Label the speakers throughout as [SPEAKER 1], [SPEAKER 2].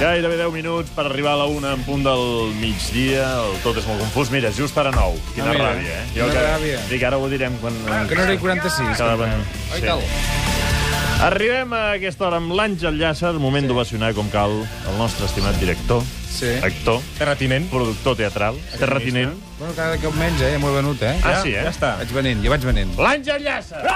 [SPEAKER 1] gairebé 10 minuts per arribar a la una en punt del migdia. El tot és molt confús. Mira, just per a 9. Quina
[SPEAKER 2] Ah, mira.
[SPEAKER 1] ràbia, eh?
[SPEAKER 2] Quina
[SPEAKER 1] que,
[SPEAKER 2] ràbia. Ah,
[SPEAKER 1] Dic, ara ho direm quan...
[SPEAKER 2] Que no era 46.
[SPEAKER 1] Cada
[SPEAKER 2] que
[SPEAKER 1] vegada-
[SPEAKER 2] no. Oi,
[SPEAKER 1] sí.
[SPEAKER 2] tal?
[SPEAKER 1] Arribem a aquesta hora amb l'Àngel Llàcer, moment d'ovacionar com cal el nostre estimat director,
[SPEAKER 2] Sí.
[SPEAKER 1] actor,
[SPEAKER 3] Terratinent.
[SPEAKER 1] productor teatral, terratinent.
[SPEAKER 2] Bueno, cada cop menys, eh? M'ho he venut, eh?
[SPEAKER 1] Ah, sí, eh?
[SPEAKER 3] Ja està.
[SPEAKER 2] Vaig venent, jo vaig venent.
[SPEAKER 1] L'Àngel Llàcer!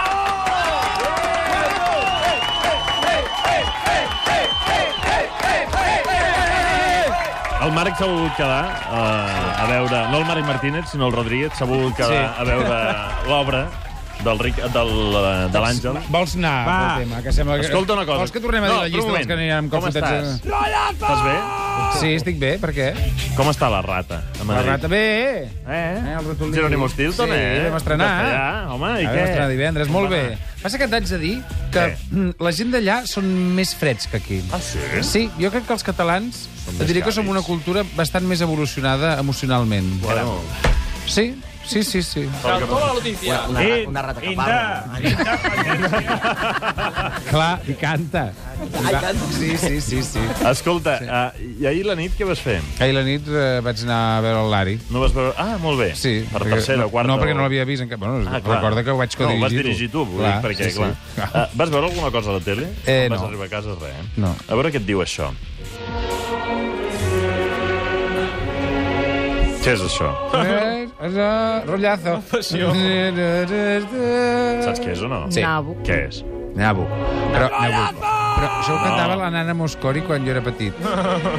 [SPEAKER 1] El Marc s'ha volgut quedar eh, a veure... No el Marc Martínez, sinó el Rodríguez. S'ha volgut quedar
[SPEAKER 2] Sí.
[SPEAKER 1] a veure l'obra del Ric, del, eh, de l'Àngel.
[SPEAKER 2] Vols anar
[SPEAKER 3] Va.
[SPEAKER 2] pel tema? Que sembla que...
[SPEAKER 1] Escolta una cosa.
[SPEAKER 2] Vols que tornem a dir
[SPEAKER 1] No,
[SPEAKER 2] la
[SPEAKER 1] però
[SPEAKER 2] llista
[SPEAKER 1] un
[SPEAKER 2] dels que
[SPEAKER 1] moment.
[SPEAKER 2] anirem
[SPEAKER 1] Com
[SPEAKER 2] confrontats?
[SPEAKER 1] estàs? Estàs bé?
[SPEAKER 2] Sí, estic bé, per què?
[SPEAKER 1] Com està la rata a
[SPEAKER 2] La
[SPEAKER 1] Madrid?
[SPEAKER 2] rata bé.
[SPEAKER 1] Eh?
[SPEAKER 2] Eh, el ratolí.
[SPEAKER 1] Jerónimo Stilton,
[SPEAKER 2] Sí,
[SPEAKER 1] eh?
[SPEAKER 2] vam estrenar.
[SPEAKER 1] Castellà, home, i
[SPEAKER 2] A
[SPEAKER 1] què?
[SPEAKER 2] veure, estarà divendres, molt
[SPEAKER 1] Home.
[SPEAKER 2] bé. Passa que t'haig de dir que mm,
[SPEAKER 1] Què?
[SPEAKER 2] la gent d'allà són més freds que aquí.
[SPEAKER 1] Ah, sí?
[SPEAKER 2] Sí, jo crec que els catalans,
[SPEAKER 1] Són
[SPEAKER 2] et diré
[SPEAKER 1] més
[SPEAKER 2] que som
[SPEAKER 1] càlids.
[SPEAKER 2] una cultura bastant més evolucionada emocionalment.
[SPEAKER 1] Bueno,
[SPEAKER 2] Sí, sí, sí, sí.
[SPEAKER 1] Oh.
[SPEAKER 4] Una,
[SPEAKER 3] Eh,
[SPEAKER 4] una rata que
[SPEAKER 3] Inda,
[SPEAKER 4] parla.
[SPEAKER 2] Clar, i canta.
[SPEAKER 1] Ah,
[SPEAKER 4] Ai, canta.
[SPEAKER 2] Sí, sí, sí, sí.
[SPEAKER 1] escolta, sí. i ahir la nit què vas fer?
[SPEAKER 2] Ahir a la nit eh, vaig anar a veure el Lari.
[SPEAKER 1] No vas veure... Ah, molt bé.
[SPEAKER 2] Sí,
[SPEAKER 1] per
[SPEAKER 2] perquè-
[SPEAKER 1] tercera
[SPEAKER 2] no,
[SPEAKER 1] o quarta.
[SPEAKER 2] No, perquè
[SPEAKER 1] o-
[SPEAKER 2] no l'havia vist encara. Bueno,
[SPEAKER 1] Ah, clar.
[SPEAKER 2] recorda que ho vaig
[SPEAKER 1] No,
[SPEAKER 2] codirigir.
[SPEAKER 1] ho vas dirigir tu, vull dir, perquè, clar. Ah, vas veure alguna cosa a la tele?
[SPEAKER 2] Eh,
[SPEAKER 1] vas
[SPEAKER 2] no.
[SPEAKER 1] arribar a casa, res. eh?
[SPEAKER 2] No.
[SPEAKER 1] A veure què et diu això. Què és això?
[SPEAKER 2] Eh, eh, Rotllazo.
[SPEAKER 3] Passió.
[SPEAKER 1] Saps què és o no?
[SPEAKER 2] Sí.
[SPEAKER 5] Nabo.
[SPEAKER 1] Què és?
[SPEAKER 2] Nabo. Però, Nabo. Però això ho cantava la nana Moscori quan jo era petit.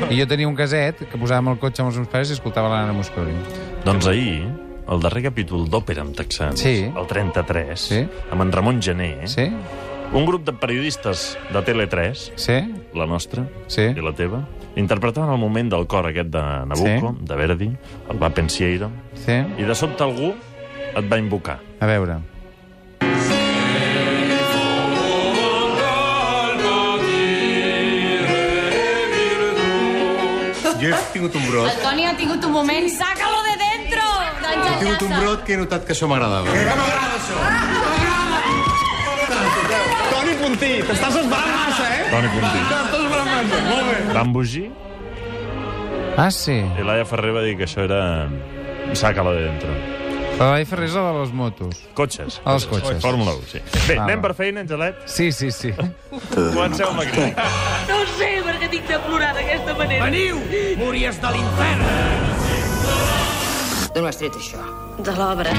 [SPEAKER 2] I jo tenia un caset que posàvem al cotxe amb els meus pares i escoltava la nana Moscori.
[SPEAKER 1] Doncs ahir, el darrer capítol d'Òpera amb Texans,
[SPEAKER 2] Sí.
[SPEAKER 1] el 33,
[SPEAKER 2] Sí.
[SPEAKER 1] amb en Ramon Gené,
[SPEAKER 2] Sí?
[SPEAKER 1] un grup de periodistes de Tele3,
[SPEAKER 2] Sí?
[SPEAKER 1] la nostra
[SPEAKER 2] Sí?
[SPEAKER 1] i la teva, interpretaven el moment del cor aquest de Nabucco, sí. de Verdi, el va Pensiero,
[SPEAKER 2] Sí?
[SPEAKER 1] i de sobte algú et va invocar.
[SPEAKER 2] A veure.
[SPEAKER 6] Jo he tingut un brot.
[SPEAKER 5] El Toni ha tingut un moment. Sácalo de dentro! Doncs
[SPEAKER 6] He tingut un brot que he notat que això m'agradava. Que no m'agrada, això! Toni Puntí, t'estàs esbarant massa, eh?
[SPEAKER 1] Toni Puntí.
[SPEAKER 6] T'estàs esbarant massa. Molt bé.
[SPEAKER 1] Va embogir
[SPEAKER 2] Ah, sí.
[SPEAKER 1] i l'Aia Ferrer va dir que això era... Saca-la de dentro.
[SPEAKER 2] La Lai Ferrer és la de les motos.
[SPEAKER 1] Cotxes.
[SPEAKER 2] Els cotxes.
[SPEAKER 1] Fórmula 1, sí. Bé,
[SPEAKER 2] Va,
[SPEAKER 1] anem
[SPEAKER 2] va.
[SPEAKER 1] per feina, Angelet.
[SPEAKER 2] Sí, sí, sí.
[SPEAKER 1] Comenceu amb la crítica.
[SPEAKER 7] No sé per què tinc de plorar d'aquesta manera. Veniu! Múries de l'infern!
[SPEAKER 4] D'on ho has tret, això?
[SPEAKER 5] De l'obra.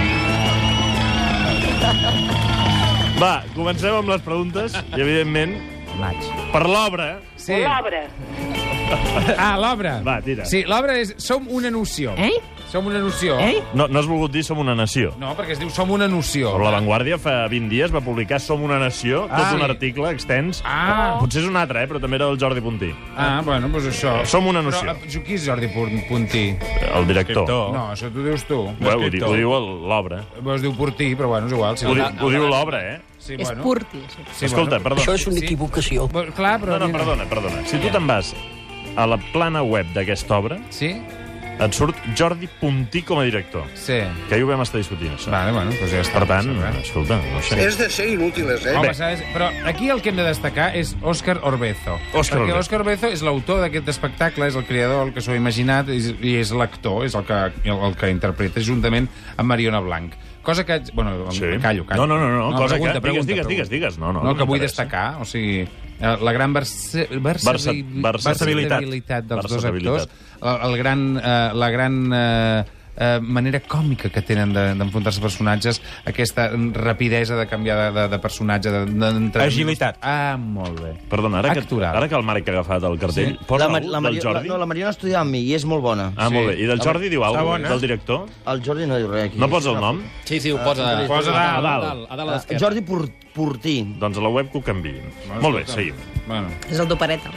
[SPEAKER 1] Va, comencem amb les preguntes i, evidentment,
[SPEAKER 4] Maig.
[SPEAKER 1] per l'obra...
[SPEAKER 2] sí.
[SPEAKER 7] L'obra.
[SPEAKER 2] Ah, l'obra.
[SPEAKER 1] Va, tira.
[SPEAKER 2] Sí, l'obra és Som una noció.
[SPEAKER 4] Eh?
[SPEAKER 2] Som una noció.
[SPEAKER 4] Eh?
[SPEAKER 1] No, no has volgut dir Som una nació.
[SPEAKER 2] No, perquè es diu Som una noció.
[SPEAKER 1] Però La Vanguardia fa 20 dies va publicar Som una nació, tot
[SPEAKER 2] Ah,
[SPEAKER 1] un
[SPEAKER 2] sí.
[SPEAKER 1] article extens.
[SPEAKER 2] Ah.
[SPEAKER 1] Potser és un altre, eh? però també era el Jordi Puntí.
[SPEAKER 2] Ah, bueno, doncs això.
[SPEAKER 1] Som una noció.
[SPEAKER 2] Però, eh, qui és Jordi Pun- Puntí?
[SPEAKER 1] El director.
[SPEAKER 3] Escriptor.
[SPEAKER 2] No, això t'ho dius tu.
[SPEAKER 1] Bé, ho, di
[SPEAKER 3] escriptor.
[SPEAKER 1] ho diu el- l'obra.
[SPEAKER 2] Bé, es diu Portí, però bueno, és igual. Si
[SPEAKER 1] Ho, di
[SPEAKER 2] no-
[SPEAKER 1] ho diu l'obra, eh?
[SPEAKER 2] Sí,
[SPEAKER 5] És
[SPEAKER 2] bueno.
[SPEAKER 5] purti, això.
[SPEAKER 2] Sí,
[SPEAKER 1] Sí, Escolta,
[SPEAKER 2] bueno.
[SPEAKER 1] perdona.
[SPEAKER 4] Això és una equivocació.
[SPEAKER 2] Bo- Clar, però...
[SPEAKER 1] No, no, perdona, perdona. Si tu te'n vas a la plana web d'aquesta obra,
[SPEAKER 2] Sí?
[SPEAKER 1] et surt Jordi Puntí com a director.
[SPEAKER 2] Sí.
[SPEAKER 1] Que ahir ho vam estar discutint, això.
[SPEAKER 2] Vale, bueno, doncs ja està.
[SPEAKER 1] Per tant,
[SPEAKER 2] No passa res.
[SPEAKER 1] escolta, no sé.
[SPEAKER 8] Es de ser inútiles, ¿eh?
[SPEAKER 2] Home,
[SPEAKER 1] bé.
[SPEAKER 2] saps? Però aquí el que hem de destacar és Òscar Orbezo.
[SPEAKER 1] Òscar
[SPEAKER 2] perquè
[SPEAKER 1] Orbezo.
[SPEAKER 2] Òscar Orbezo és l'autor d'aquest espectacle, és el creador, el que s'ho ha imaginat, i i és l'actor, és el que, el, el que interpreta, juntament amb Mariona Blanc. Cosa que... Bueno,
[SPEAKER 1] Sí.
[SPEAKER 2] callo, callo.
[SPEAKER 1] No, no, no, no, cosa
[SPEAKER 2] pregunta,
[SPEAKER 1] que-
[SPEAKER 2] pregunta,
[SPEAKER 1] digues, digues, digues,
[SPEAKER 2] pregunta.
[SPEAKER 1] digues. No, no,
[SPEAKER 2] no, que vull
[SPEAKER 1] m'interessa.
[SPEAKER 2] destacar, o sigui, eh, la gran versa, versa,
[SPEAKER 1] Versa- versatilitat.
[SPEAKER 2] versatilitat dels dos
[SPEAKER 1] Versatilitat.
[SPEAKER 2] actors, el, el gran, eh, la gran eh, eh, manera còmica que tenen de- d'enfrontar-se a personatges, aquesta rapidesa de canviar de, de, de personatge, de, de,
[SPEAKER 3] Agilitat.
[SPEAKER 2] Ah, molt bé.
[SPEAKER 1] Perdona, ara que,
[SPEAKER 2] Actoral.
[SPEAKER 1] ara que el Marc ha agafat el cartell, sí. posa
[SPEAKER 4] La,
[SPEAKER 1] la,
[SPEAKER 4] Mar- la,
[SPEAKER 1] del
[SPEAKER 4] Maria, la,
[SPEAKER 1] Jordi.
[SPEAKER 4] no, la Mariona estudia amb mi i és molt bona.
[SPEAKER 1] Ah, molt bé. I del Jordi diu alguna
[SPEAKER 3] bona.
[SPEAKER 1] cosa, del director?
[SPEAKER 4] El Jordi no diu res aquí.
[SPEAKER 1] No posa el nom?
[SPEAKER 9] Sí, sí, ho posa...
[SPEAKER 2] Posa Eh, dalt,
[SPEAKER 9] a
[SPEAKER 1] dalt.
[SPEAKER 9] dalt, a dalt a
[SPEAKER 4] Eh,
[SPEAKER 9] l'esquerra.
[SPEAKER 4] Jordi Pur- Portí.
[SPEAKER 1] Doncs a la web que ho canviïn.
[SPEAKER 2] Bueno,
[SPEAKER 1] Molt bé,
[SPEAKER 2] escolta'm.
[SPEAKER 1] seguim.
[SPEAKER 2] Bueno.
[SPEAKER 5] És el d'opereta.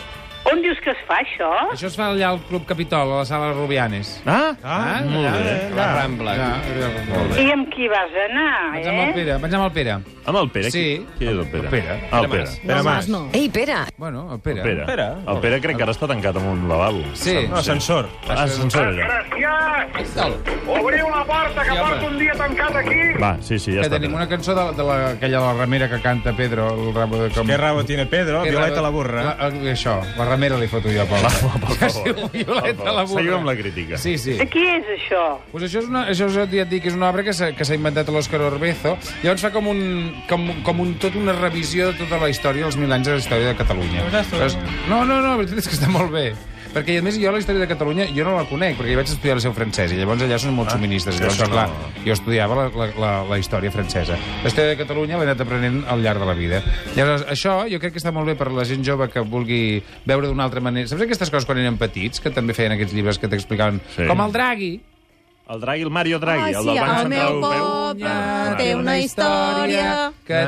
[SPEAKER 7] On dius que es fa, això?
[SPEAKER 2] Això es fa allà al Club Capitol, a la sala Rubianes.
[SPEAKER 1] Ah,
[SPEAKER 2] Ah,
[SPEAKER 1] molt
[SPEAKER 2] allà,
[SPEAKER 1] bé.
[SPEAKER 2] allà.
[SPEAKER 9] La Rambla.
[SPEAKER 2] Ja, molt bé.
[SPEAKER 7] I amb qui vas anar,
[SPEAKER 2] Vaig amb el
[SPEAKER 7] eh?
[SPEAKER 2] Pere, vaig amb el Pere.
[SPEAKER 1] Amb el Pere?
[SPEAKER 2] Sí.
[SPEAKER 1] Qui, qui és el Pere?
[SPEAKER 2] El Pere.
[SPEAKER 1] Ah, el Pere.
[SPEAKER 3] Pere Mas.
[SPEAKER 5] No,
[SPEAKER 3] Pere Mas.
[SPEAKER 5] Mas, no.
[SPEAKER 9] Ei, Pere!
[SPEAKER 2] Bueno, el Pere.
[SPEAKER 1] El Pere.
[SPEAKER 3] Pere.
[SPEAKER 1] El Pere crec que ara està tancat amb un lavabo.
[SPEAKER 2] Sí.
[SPEAKER 3] Un ascensor.
[SPEAKER 1] Ah, Ascensor era.
[SPEAKER 6] Desgraciats!
[SPEAKER 9] Dalt.
[SPEAKER 6] Obriu la porta, que
[SPEAKER 2] Sí, home.
[SPEAKER 6] porto un dia tancat aquí.
[SPEAKER 1] Va, sí, sí, ja
[SPEAKER 2] que
[SPEAKER 1] està.
[SPEAKER 2] tenim
[SPEAKER 1] Pere.
[SPEAKER 2] una cançó de, de la, aquella de la ramera que canta Pedro, el rabo de com...
[SPEAKER 3] Qué rabo tiene Pedro,
[SPEAKER 2] Qué
[SPEAKER 3] Violeta
[SPEAKER 2] rabo-
[SPEAKER 3] la burra. eh?
[SPEAKER 2] La, el, això, la mera li foto jo, Paula.
[SPEAKER 1] Va, per favor.
[SPEAKER 2] Ja siu Violeta,
[SPEAKER 1] Per favor.
[SPEAKER 2] la burra.
[SPEAKER 1] Seguim amb la crítica.
[SPEAKER 2] Sí, sí.
[SPEAKER 3] Qui és això?
[SPEAKER 2] Pues això, és una, això us ja et dic, és una obra que s'ha que s'ha inventat l'Òscar Orbezo. Llavors fa com un, com, com un, tot una revisió de tota la història, els mil anys de la història de Catalunya. Llavors, no, no, no, la veritat és que està molt bé. Perquè, a més, jo la història de Catalunya jo no la conec, perquè jo vaig estudiar la seu francesa, i llavors allà són molts suministres.
[SPEAKER 1] Ah, això
[SPEAKER 2] Llavors,
[SPEAKER 1] no.
[SPEAKER 2] clar, jo estudiava la, la, la, la història francesa. La història de Catalunya l'he anat aprenent al llarg de la vida. Llavors, això jo crec que està molt bé per la gent jove que vulgui veure d'una altra manera. Saps aquestes coses quan érem petits, que també feien aquests llibres que t'explicaven?
[SPEAKER 1] Sí.
[SPEAKER 2] Sí. Com el Draghi,
[SPEAKER 1] El Draghi, el Mario Draghi,
[SPEAKER 5] Ah,
[SPEAKER 1] el del
[SPEAKER 5] sí,
[SPEAKER 1] Banc
[SPEAKER 5] el
[SPEAKER 1] Central
[SPEAKER 5] meu
[SPEAKER 1] Europeu.
[SPEAKER 5] poble
[SPEAKER 1] Ah,
[SPEAKER 5] té
[SPEAKER 1] clar.
[SPEAKER 5] una història
[SPEAKER 2] que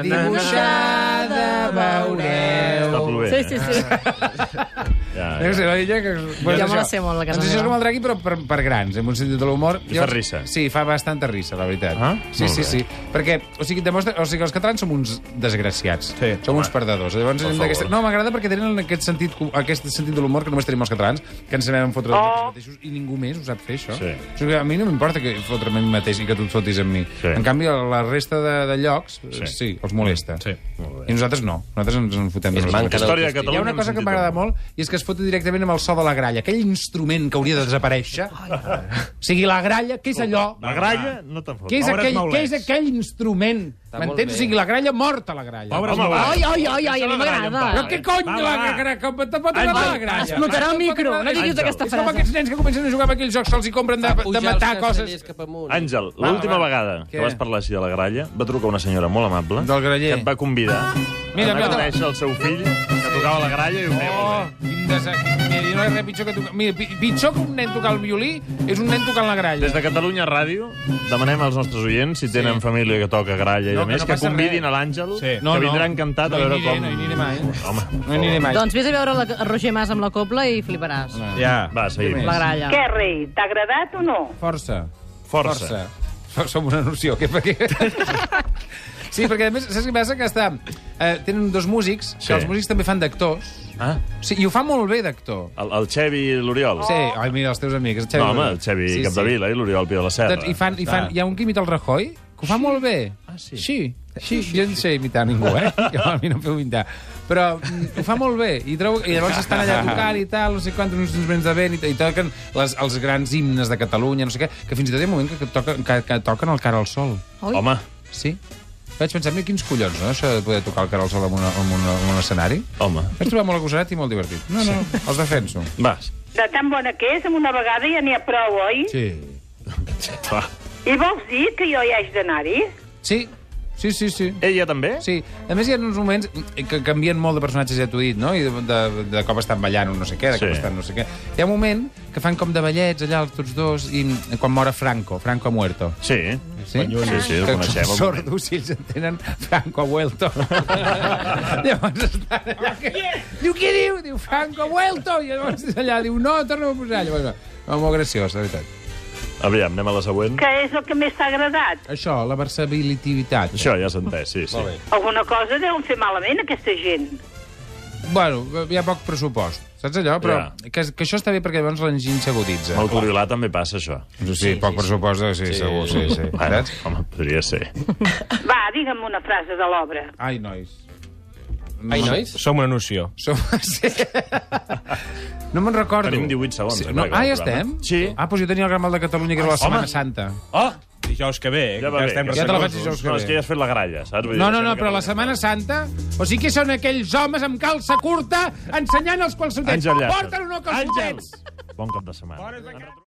[SPEAKER 5] dibuixada
[SPEAKER 1] Està
[SPEAKER 2] veureu.
[SPEAKER 1] molt bé.
[SPEAKER 5] Sí, sí, sí.
[SPEAKER 1] Ja, ja.
[SPEAKER 2] Deu ser, oi, ja, que... Pues
[SPEAKER 5] Jo me la
[SPEAKER 2] això.
[SPEAKER 5] sé molt, la casa
[SPEAKER 2] doncs això és
[SPEAKER 5] meva.
[SPEAKER 2] com el Draghi, però per, per grans, amb un sentit de l'humor.
[SPEAKER 1] I fa
[SPEAKER 2] Llavors-
[SPEAKER 1] risa.
[SPEAKER 2] Sí, fa bastanta risa, la veritat.
[SPEAKER 1] Ah,
[SPEAKER 2] sí,
[SPEAKER 1] molt
[SPEAKER 2] sí,
[SPEAKER 1] bé.
[SPEAKER 2] sí. Perquè, o sigui, demostra, o sigui, els catalans som uns desgraciats.
[SPEAKER 1] Sí.
[SPEAKER 2] Som uns perdedors. Llavors, hem d'aquesta- no, m'agrada perquè tenen aquest sentit, cu- aquest sentit de l'humor que només tenim els catalans, que ens sabem fotre oh. mateixos i ningú més ho sap fer, això.
[SPEAKER 1] Sí.
[SPEAKER 2] O sigui, a mi no m'importa que fotre'm a mi mateix i que tu et fotis amb mi.
[SPEAKER 1] Sí.
[SPEAKER 2] En canvi, a la resta de, de llocs,
[SPEAKER 1] Sí.
[SPEAKER 2] sí, sí els molesta.
[SPEAKER 1] Sí. Molt bé.
[SPEAKER 2] I nosaltres no. Nosaltres ens en fotem.
[SPEAKER 4] És
[SPEAKER 2] de
[SPEAKER 4] manca
[SPEAKER 2] nosaltres.
[SPEAKER 4] de
[SPEAKER 1] Història de
[SPEAKER 4] autoestima.
[SPEAKER 1] Catalunya.
[SPEAKER 2] Hi ha una cosa que m'agrada molt, i és que es fot directament amb el so de la gralla. Aquell instrument que hauria de desaparèixer. O sigui, la gralla, què és allò?
[SPEAKER 1] La gralla no te'n fot.
[SPEAKER 2] Què és,
[SPEAKER 8] Pobres
[SPEAKER 2] aquell,
[SPEAKER 8] maulets.
[SPEAKER 2] què és aquell instrument?
[SPEAKER 4] molt
[SPEAKER 2] M'entens?
[SPEAKER 4] bé.
[SPEAKER 2] O sigui, la gralla morta, la gralla.
[SPEAKER 8] Pobres
[SPEAKER 1] Home, va.
[SPEAKER 8] malalts.
[SPEAKER 5] Ai, ai, ai, ai, a mi m'agrada.
[SPEAKER 2] Però
[SPEAKER 1] eh?
[SPEAKER 2] què cony,
[SPEAKER 8] Va,
[SPEAKER 2] la,
[SPEAKER 8] va.
[SPEAKER 2] la, la, com te pot agradar la gralla?
[SPEAKER 5] Explotarà el micro, no diguis
[SPEAKER 1] Àngel.
[SPEAKER 5] aquesta
[SPEAKER 2] És com
[SPEAKER 5] frase.
[SPEAKER 2] aquests nens que comencen a jugar amb aquells jocs, se'ls hi compren de, de matar coses.
[SPEAKER 1] Àngel, l'última
[SPEAKER 2] va.
[SPEAKER 1] vegada que
[SPEAKER 2] Què?
[SPEAKER 1] vas parlar així de la gralla, va trucar una senyora molt amable
[SPEAKER 2] Del graller.
[SPEAKER 1] que et va convidar
[SPEAKER 2] Mira,
[SPEAKER 1] a anar
[SPEAKER 2] mira.
[SPEAKER 1] a conèixer el seu fill que tocava la gralla i ho feia molt
[SPEAKER 2] Oh,
[SPEAKER 1] bé.
[SPEAKER 2] quin desa... Mira, jo no hi ha res pitjor que tocar... Mira, pi- pitjor que un nen tocar el violí és un nen tocant la gralla.
[SPEAKER 1] Des de Catalunya Ràdio demanem als nostres oients, si tenen família que toca gralla i
[SPEAKER 2] No,
[SPEAKER 1] no,
[SPEAKER 2] que
[SPEAKER 1] més,
[SPEAKER 2] no
[SPEAKER 1] que,
[SPEAKER 2] passa
[SPEAKER 1] convidin
[SPEAKER 2] res.
[SPEAKER 1] a l'Àngel,
[SPEAKER 2] Sí.
[SPEAKER 1] que vindrà encantat
[SPEAKER 2] no
[SPEAKER 1] a
[SPEAKER 2] hi
[SPEAKER 1] veure
[SPEAKER 2] aniré,
[SPEAKER 1] com...
[SPEAKER 2] No hi aniré mai. eh.
[SPEAKER 1] Home, per
[SPEAKER 2] No hi aniré
[SPEAKER 1] favor.
[SPEAKER 2] mai.
[SPEAKER 5] Doncs vés a veure la, Roger Mas amb la copla i fliparàs.
[SPEAKER 8] Ja.
[SPEAKER 1] Va, seguim.
[SPEAKER 5] La gralla.
[SPEAKER 3] Què, rei? T'ha agradat o no?
[SPEAKER 2] Força.
[SPEAKER 1] Força.
[SPEAKER 2] Força. Som una noció. Què, per què? sí, perquè a més, saps què passa? Que està, eh, tenen dos músics, sí.
[SPEAKER 1] Sí.
[SPEAKER 2] que els músics també fan d'actors.
[SPEAKER 1] Ah,
[SPEAKER 2] Sí, I ho fa molt bé d'actor.
[SPEAKER 1] el, el Xevi i l'Oriol.
[SPEAKER 2] Sí, ai, mira, els teus amics. El Xavi
[SPEAKER 1] No, home, el Xevi sí, Capdevila i l'Oriol Pia de la Serra.
[SPEAKER 2] Doncs, i fan, i fan, hi ha un que imita el Rajoy, que ho fa molt bé. Ah, sí? Sí, sí, jo no sé imitar ningú, eh? Jo, a mi no em feu imitar. Però mm, ho fa molt bé. I, trobo, I llavors estan allà tocant i tal, no sé quants, uns instruments de vent, i, i toquen les, els grans himnes de Catalunya, no sé què, que fins i tot hi ha un moment que, que, toquen, que, que toquen el cara al sol.
[SPEAKER 5] Ui.
[SPEAKER 1] Home,
[SPEAKER 2] Sí? Vaig pensar, mira, quins collons, no?, això de poder tocar el cara al sol en, una, en, una, en un escenari.
[SPEAKER 1] home.
[SPEAKER 2] Vaig trobar molt agosarat i molt divertit. Oh. No, no, els defenso.
[SPEAKER 1] Va,
[SPEAKER 3] De tan bona que és, amb una vegada ja n'hi ha prou, oi?
[SPEAKER 2] Sí.
[SPEAKER 1] va.
[SPEAKER 3] I vols dir que jo hi haig d'anar-hi?
[SPEAKER 2] Sí, sí, sí, sí.
[SPEAKER 1] Ella també?
[SPEAKER 2] Sí, a més hi ha uns moments que canvien molt de personatges, ja t'ho he dit, no? I de, de, de cop estan ballant o no sé què, de
[SPEAKER 1] Sí.
[SPEAKER 2] cop estan no sé què. Hi ha un moment que fan com de ballets allà els tots dos i quan mora Franco, Franco ha muerto.
[SPEAKER 1] Sí.
[SPEAKER 2] Sí?
[SPEAKER 1] Sí, sí, el
[SPEAKER 2] que
[SPEAKER 1] coneixem. el
[SPEAKER 2] són
[SPEAKER 1] moment.
[SPEAKER 2] sordos i ells entenen Franco ha vuelto. llavors estan allà que... Diu, qui diu? Diu, Franco ha vuelto. I llavors allà diu, no, torna a posar. Llavors, va. va, molt graciós, de veritat.
[SPEAKER 1] Aviam, anem a la següent.
[SPEAKER 3] Que és el que més t'ha agradat?
[SPEAKER 2] Això, la versabilitat.
[SPEAKER 1] Això ja s'ha entès, sí, sí.
[SPEAKER 3] Alguna cosa deuen fer malament, aquesta gent.
[SPEAKER 2] Bueno, hi ha poc pressupost, saps allò? Però
[SPEAKER 1] Ja.
[SPEAKER 2] yeah. que, que això està bé perquè llavors l'enginy s'aguditza.
[SPEAKER 1] Amb el Corilà també passa això.
[SPEAKER 2] Sí, sí, poc sí, pressupost, sí, sí, segur, sí, sí.
[SPEAKER 1] Bueno,
[SPEAKER 2] Saps?
[SPEAKER 1] home, podria ser.
[SPEAKER 3] Va, digue'm una frase de l'obra.
[SPEAKER 2] Ai, nois.
[SPEAKER 8] Ai, nois? Som una noció.
[SPEAKER 2] Som... Sí. No me'n recordo.
[SPEAKER 1] Tenim 18 segons, eh,
[SPEAKER 2] no,
[SPEAKER 1] per acabar
[SPEAKER 2] ah,
[SPEAKER 1] el
[SPEAKER 2] ja estem?
[SPEAKER 1] programa. Sí.
[SPEAKER 2] Ah, doncs jo tenia el Gran Mal de Catalunya, que era la Setmana Santa.
[SPEAKER 8] Oh! Dijous que ve, eh?
[SPEAKER 1] Ja va
[SPEAKER 8] que
[SPEAKER 1] bé.
[SPEAKER 8] estem
[SPEAKER 2] Ja te la faig
[SPEAKER 8] recelosos.
[SPEAKER 2] dijous que
[SPEAKER 1] No, és que
[SPEAKER 2] ve.
[SPEAKER 1] ja has fet la gralla, saps? Vull dir,
[SPEAKER 2] No, no,
[SPEAKER 1] deixem
[SPEAKER 2] no,
[SPEAKER 1] que
[SPEAKER 2] però la
[SPEAKER 1] parlem.
[SPEAKER 2] Setmana Santa... O sigui que són aquells homes amb calça curta ensenyant els calçotets.
[SPEAKER 1] Àngel Llàcer.
[SPEAKER 2] Porten o no calçotets?
[SPEAKER 1] Àngel! Bon cap de setmana.